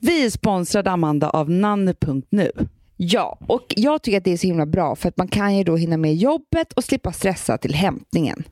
Vi är sponsrade, Amanda, av nanne.nu. Ja, och jag tycker att det är så himla bra för att man kan ju då hinna med jobbet och slippa stressa till hämtningen.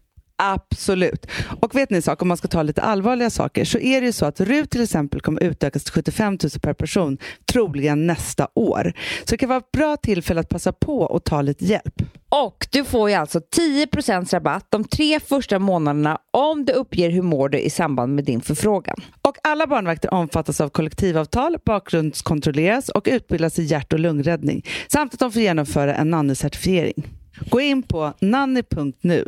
Absolut. Och vet ni en sak, om man ska ta lite allvarliga saker så är det ju så att RUT till exempel kommer utökas till 75 000 per person troligen nästa år. Så det kan vara ett bra tillfälle att passa på och ta lite hjälp. Och du får ju alltså 10 rabatt de tre första månaderna om du uppger hur mår du i samband med din förfrågan. Och alla barnvakter omfattas av kollektivavtal, bakgrundskontrolleras och utbildas i hjärt och lungräddning samt att de får genomföra en nanny-certifiering. Gå in på nanny.nu.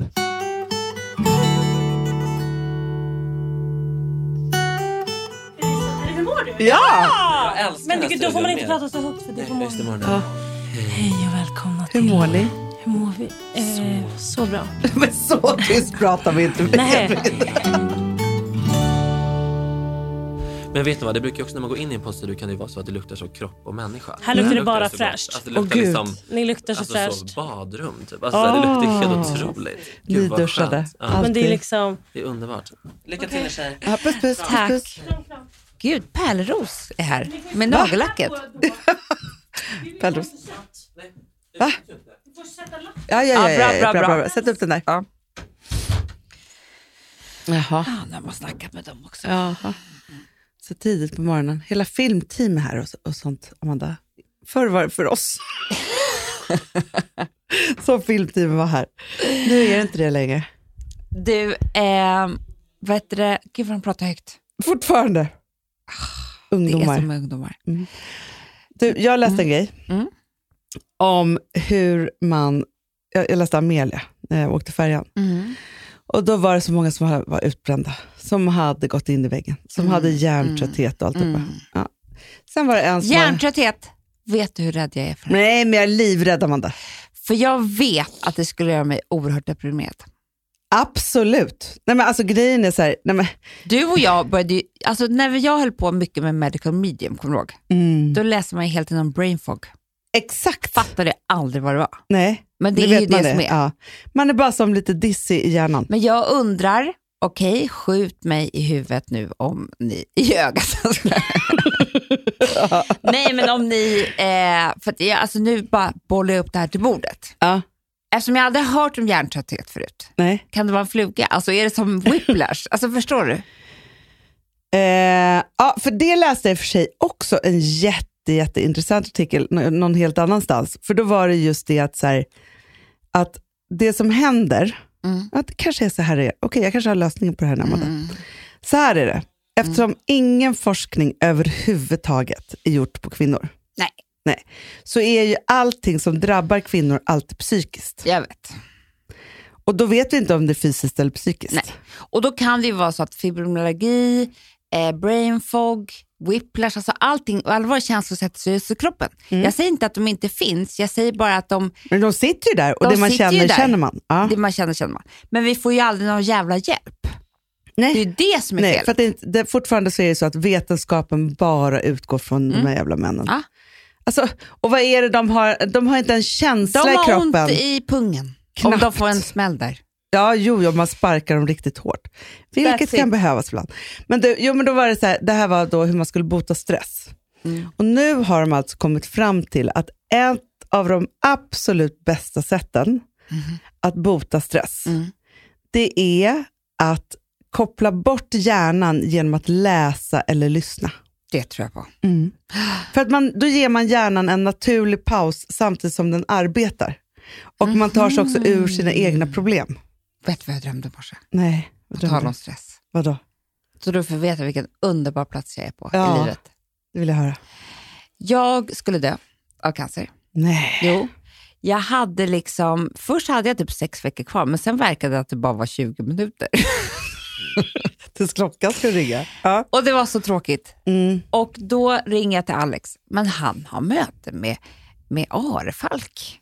Hur mår du? Ja! Men det, då får man inte prata så högt för det får man... Hej och välkomna till... Hur mår ni? Hur mår vi? Eh, så. bra. Men så tyst pratar vi inte. Nej. Men vet ni vad, det brukar ju också när man går in i en poster kan det ju vara så att det luktar så kropp och människa. Här luktar det bara så fräscht. gott. Alltså, det Åh, luktar gud. liksom Ni luktar så alltså, fräscht. så badrum typ. Alltså, så här, Det luktar ju helt Åh. otroligt. Gud vad Nyduschade. skönt. Ja, Men det är liksom... det är underbart. Lycka till tjejer. Ja, puss, puss, puss, puss. Gud, Pärleros är här med nagellacket. Pärlros. Va? Ja, ja, ja, Ja, ja, bra, ja, bra, bra. Sätt upp den där. Ja. Jaha. när man snackar med dem också. Jaha. Så tidigt på morgonen. Hela filmteam är här och, och sånt, Amanda. Förr var det för oss. Som filmteamet var här. Nu är det inte det längre. Du, eh, vad heter det? Gud vad de pratar högt. Fortfarande. Ah, Det är som Ungdomar. med ungdomar. Du, jag läste en grej Mm. om hur man... Jag, jag läste Amelia när jag åkte färjan. Mm. Och då var det så många som ha- var utbrända, som hade gått in i väggen, som Mm, hade hjärntrötthet och allt det där. ja. Sen var det en som... Var, Hjärntrötthet. Vet du hur rädd jag är för det? nej, men jag är livrädd, Amanda. För jag vet att det skulle göra mig oerhört deprimerad. Absolut. Nej, men alltså grejen är så här, nej, men, Du och jag började ju, alltså när jag höll på mycket med medical medium, kommer du ihåg? Då läste man ju helt igenom brain fog. exakt. Fattade aldrig vad det var. Nej, Men det nu är ju vet man det som är. Ja. Man är bara som lite dissig i hjärnan. Men jag undrar, okej, skjut mig i huvudet nu om ni, i ögat. Nej, men om ni, eh, för att jag, alltså nu bara bollar jag upp det här till bordet. Ja. Eftersom jag aldrig hört om hjärntrötthet förut, Nej. kan det vara en fluga? Alltså är det som whiplash? Alltså förstår du? Eh, ja, för det läste jag i och för sig också en jätte, jätteintressant artikel n- någon helt annanstans. För då var det just det att, så här, att det som händer, Mm. att det kanske är så här det är. Okej, jag kanske har lösningen på det här nu, Amanda. Så här är Mm. det. Eftersom ingen forskning överhuvudtaget är gjort på kvinnor. Nej. Nej. Så är ju allting som drabbar kvinnor alltid psykiskt. Jag vet. Och då vet vi inte om det är fysiskt eller psykiskt. Nej. Och då kan det ju vara så att fibromyalgi, eh, brain fog, whiplash, alltså allting, och alla våra känslor sätter sig i kroppen. Mm. Jag säger inte att de inte finns, jag säger bara att de Men de sitter ju där och De det man sitter ju känner, där. känner man. Ja. Det man känner känner man. Men vi får ju aldrig någon jävla hjälp. Nej. Det är ju det som är Nej, fel. för att det, är inte- det, fortfarande så är det så att vetenskapen bara utgår från Mm. de här jävla männen. Ja. Alltså, och vad är det de har? De har inte en De känsla i har ont kroppen. i pungen. Om de Knappt. får en smäll där. Ja, jo, jo, man sparkar dem riktigt hårt. Vilket That's kan it. behövas ibland. Men, du, jo, men då var det så här, det här var då hur man skulle bota stress. Mm. Och nu har de alltså kommit fram till att ett av de absolut bästa sätten Mm-hmm. att bota stress, Mm. det är att koppla bort hjärnan genom att läsa eller lyssna. Det tror jag på. För att man, då ger man hjärnan en naturlig paus samtidigt som den arbetar. Och man tar sig också ur sina egna Mm. problem. Vet du vad jag drömde i morse? Nej, På vad tal drömde om du? stress. Vadå? Så du får veta vilken underbar plats jag är på i Ja. livet. Det vill jag höra. Jag skulle dö av cancer. Nej. Jo. Jag hade liksom, först hade jag typ sex veckor kvar, men sen verkade det att det bara var 20 minuter. Tills klockan ska ringa. Ja. Och det var så tråkigt. Mm. Och då ringer jag till Alex, men han har möte med, med Arefalk.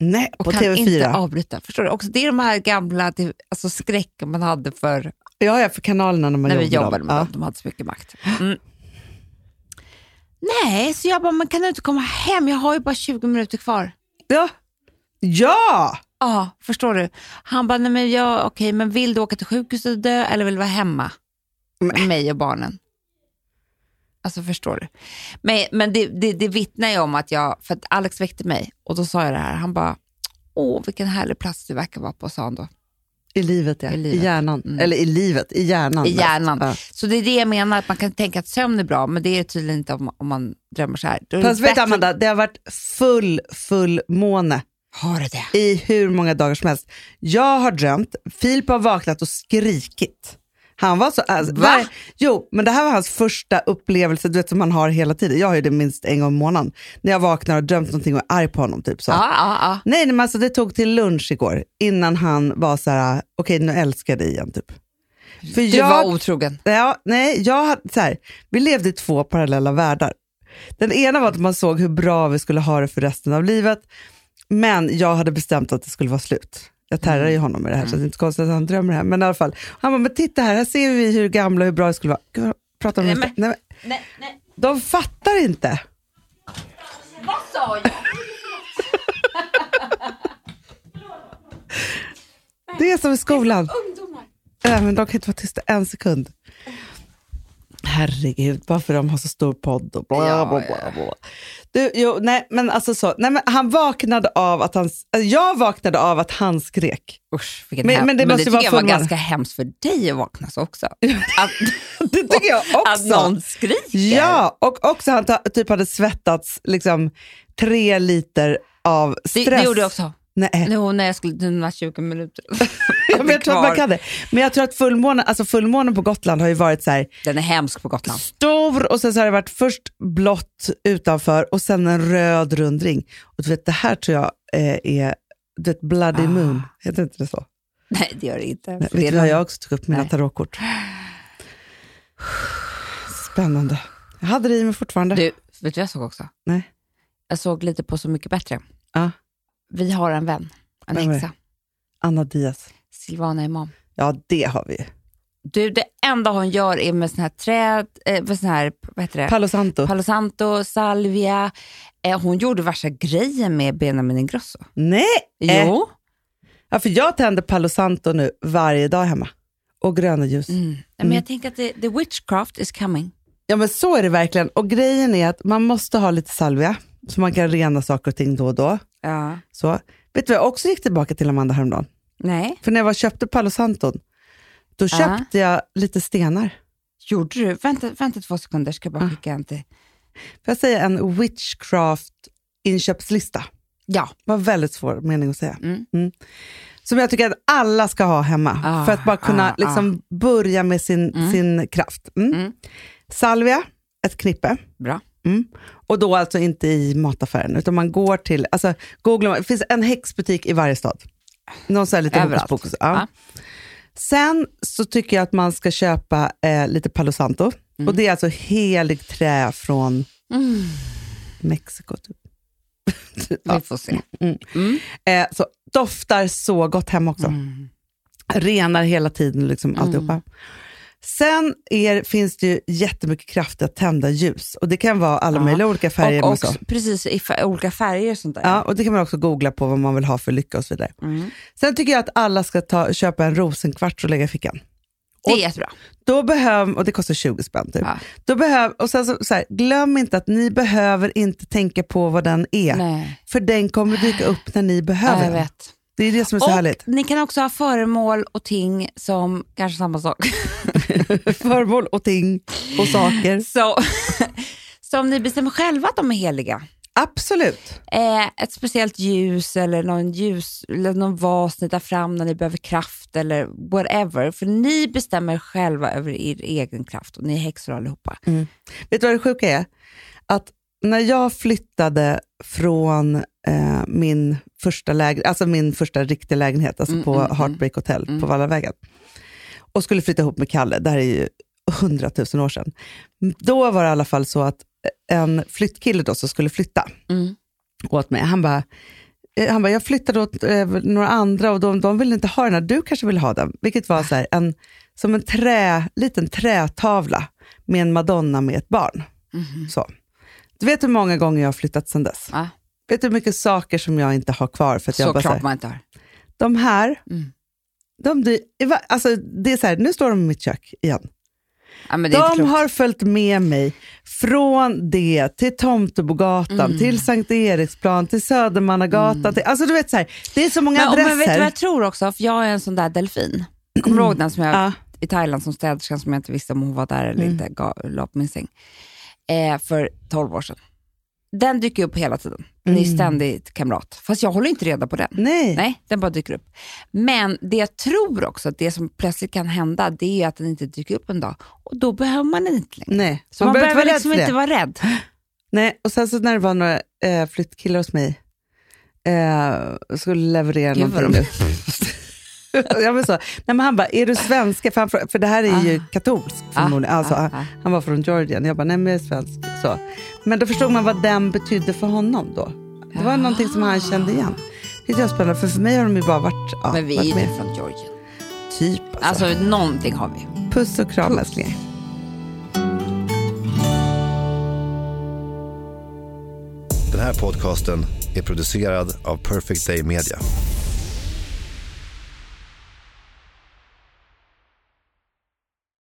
Nej, Och på kan TV4. inte avbryta. Förstår du? Också, det är de här gamla det- alltså, skräcken man hade för Ja, ja, för kanalerna när man när vi jobbar jobbade med ja. dem. De hade så mycket makt. Mm. Nej, så jag bara, man kan du inte komma hem? Jag har ju bara 20 minuter kvar. Ja. ja! Ja, förstår du? Han bara, nej men jag, okej, men vill du åka till sjukhuset och dö eller vill du vara hemma med mig och barnen? Alltså förstår du? Men, men det, det, det vittnar ju om att jag, för att Alex väckte mig och då sa jag det här, han bara, åh vilken härlig plats du verkar vara på, sa han då. I livet, ja. I, I livet. hjärnan. Mm. Eller i livet, i hjärnan. I hjärnan. Ja. Så det är det jag menar, att man kan tänka att sömn är bra, men det är det tydligen inte om, om man drömmer så här. Då är det Fast vet du Mm, bättre- Amanda, det har varit full, full måne Har du det? i hur många dagar som helst. Jag har drömt, Filip har vaknat och skrikit. Han var så... Alltså, Va? var- jo, men det här var hans första upplevelse, du vet som man har hela tiden. Jag har ju det minst en gång i månaden. När jag vaknar och drömt någonting och är arg på honom. Typ, så. Ja, ja, ja. Nej, nej men alltså, det tog till lunch igår innan han var så här, okej nu älskar jag dig igen typ. För Du var otrogen. Ja, nej, jag hade, så här, vi levde i två parallella världar. Den ena var att man såg hur bra vi skulle ha det för resten av livet, men jag hade bestämt att det skulle vara slut. Jag terrar Mm. ju honom med det här, så det är inte konstigt att han drömmer det här. Men i alla fall, han bara, men titta här, här ser vi hur gamla och hur bra det skulle vara. Gud, vad- prata om Nej, det. men- Nej, men, Nej, nej. de fattar inte. Vad sa jag? Det är som i skolan. Äh, men de kan inte vara tysta en sekund. Herregud, varför de har så stor podd och bla Ja, bla bla. bla. Du, jo, nej, men alltså så, nej, men han vaknade av att han, alltså, jag vaknade av att han skrek. Usch, vilken Men- hem- men det måste tycker vara jag var fullmåne. ganska hemskt för dig att vakna så också. Att, Det tycker jag att också. någon skriker. Ja, och också han ta, typ hade svettats liksom, tre liter av det, stress. det gjorde jag också. Nej. Jo, när jag skulle dina 20 minuter. Ja, men jag tror att man kan det. Men jag tror att fullmånen, alltså fullmånen på Gotland har ju varit så här, Den är hemsk på Gotland. stor och sen så har det varit först blått utanför och sen en röd rund ring. Och du vet, det här tror jag eh, är du vet, Bloody Ah. Moon, heter inte det så? Nej, det gör det inte. Nej, För vet det du är vad, den- jag också tog upp mina Nej. tarotkort. Spännande. Jag hade det i mig fortfarande. Du, vet du vad jag såg också? Nej. Jag såg lite på Så mycket bättre. Ja. Vi har en vän, en Vem var det? häxa. Anna Diaz. Silvana Imam. Ja, det har vi. Du, det enda hon gör är med sån här träd, eh, med sån här, vad heter det? Palo Santo. Palo Santo, salvia. Eh, hon gjorde värsta grejen med Benjamin Ingrosso. Nej! Eh, Jo. Ja, för jag tänder Palo Santo nu varje dag hemma. Och gröna ljus. Mm. Nej, Men jag tänker att the, the witchcraft is coming. Ja men så är det verkligen. Och grejen är att man måste ha lite salvia, så man kan rena saker och ting då och då. Ja. Så. Vet du vad jag också gick tillbaka till Amanda häromdagen? Nej, För när jag var och köpte Palo Santon, då Ja. köpte jag lite stenar. gjorde du? Vänta, vänta två sekunder, ska jag bara skicka en till. Får jag säga en witchcraft-inköpslista? Ja, var väldigt svår mening att säga. Mm. Som jag tycker att alla ska ha hemma Ah, för att bara kunna ah, liksom börja med sin, Mm. sin kraft. Mm. Mm. Salvia, ett knippe. Bra. Mm. Och då alltså inte i mataffären, utan man går till, alltså googlar, det finns en häxbutik i varje stad. Någon sån här liten Överallt. hokus pokus. Ja. Ja. Sen så tycker jag att man ska köpa eh, lite Palo Santo. Mm. Och det är alltså helig trä från Mexiko. Typ. vi får se. Eh, så doftar så gott hem också. Mm. Renar hela tiden liksom alltihopa. Sen är, finns det ju jättemycket kraft att tända ljus och det kan vara alla Ja. möjliga olika färger. och Och, också, precis, i fa- olika färger och sånt där. ja, och det kan man också googla på vad man vill ha för lycka och så vidare. Mm. Sen tycker jag att alla ska ta, köpa en rosenkvarts och lägga i fickan. Det Och- är jättebra. Då behöv, och det kostar 20 spänn typ. Ja. Då behöv, och sen så, så här, glöm inte att ni behöver inte tänka på vad den är. Nej. För den kommer dyka upp när ni Ja, behöver den. jag vet. Det är det som är så och härligt. Ni kan också ha föremål och ting som kanske samma sak. föremål och ting och saker. Så, som ni bestämmer själva att de är heliga. Absolut. Eh, ett speciellt ljus eller någon, ljus, eller någon vas ni tar fram när ni behöver kraft eller whatever. För ni bestämmer själva över er egen kraft och ni är häxor allihopa. Vet du vad det sjuka är? Att när jag flyttade från eh, min första lägen, alltså min första riktiga lägenhet, alltså Mm, på mm, mm. Heartbreak Hotel Mm. på Vallavägen, och skulle flytta ihop med Kalle, det här är ju hundratusen år sedan. Då var det i alla fall så att en flyttkille då som skulle flytta Mm. åt mig, han bara, eh, han bara, jag flyttade åt eh, några andra och de, de ville inte ha den här, du kanske vill ha den. Vilket var så här, en, som en trä, liten trätavla med en madonna med ett barn. Så. Du vet hur många gånger jag har flyttat sedan dess? Mhm. Ja. Vet du hur mycket saker som jag inte har kvar? För att jag bara så här, Såklart man inte har. de här, Mm. de, dy- i va- alltså, det är så här, nu står de i mitt kök igen. Ja, men det är inte De klokt. har följt med mig från det till Tomtebogatan, Mm. till Sankt Eriksplan, till Södermannagatan. Till, alltså du vet så här, det är så många men, och- men vet du adresser. vad jag tror också? För jag är en sån där delfin. Kommer du ihåg den som jag, Ja. i Thailand som städerskan som jag inte visste om hon var där Mm. eller inte, gav, la på min säng. Eh, för 12 år sedan. Den dyker upp hela tiden. Ny Mm. ständigt kamrat. Fast jag håller inte reda på den. Nej. Nej, den bara dyker upp. Men det jag tror också, att det som plötsligt kan hända, det är ju att den inte dyker upp en dag. Och då behöver man den inte längre. Nej. Så man, behöver behöver inte vara rädd liksom för det. inte vara rädd. Nej, och sen så när det var några eh, flyttkillar hos mig, eh, skulle leverera Gud, vad någonting nu. Jag men så. Nej, men han bara, är du svenska? För, han, frå- för det här är ju Ah. katolsk förmodligen. Ah, alltså, ah, han- ah. Han var från Georgien. Jag bara, nej men jag är svensk. Så. Men då förstod man vad den betydde för honom då. Det var någonting som han kände igen. Det är jag spännande, för för mig har de ju bara varit, ja, Men vi är varit ju med. inte från Georgien. Typ alltså. Alltså någonting har vi. Puss och kram älsklingar. Den här podcasten är producerad av Perfect Day Media.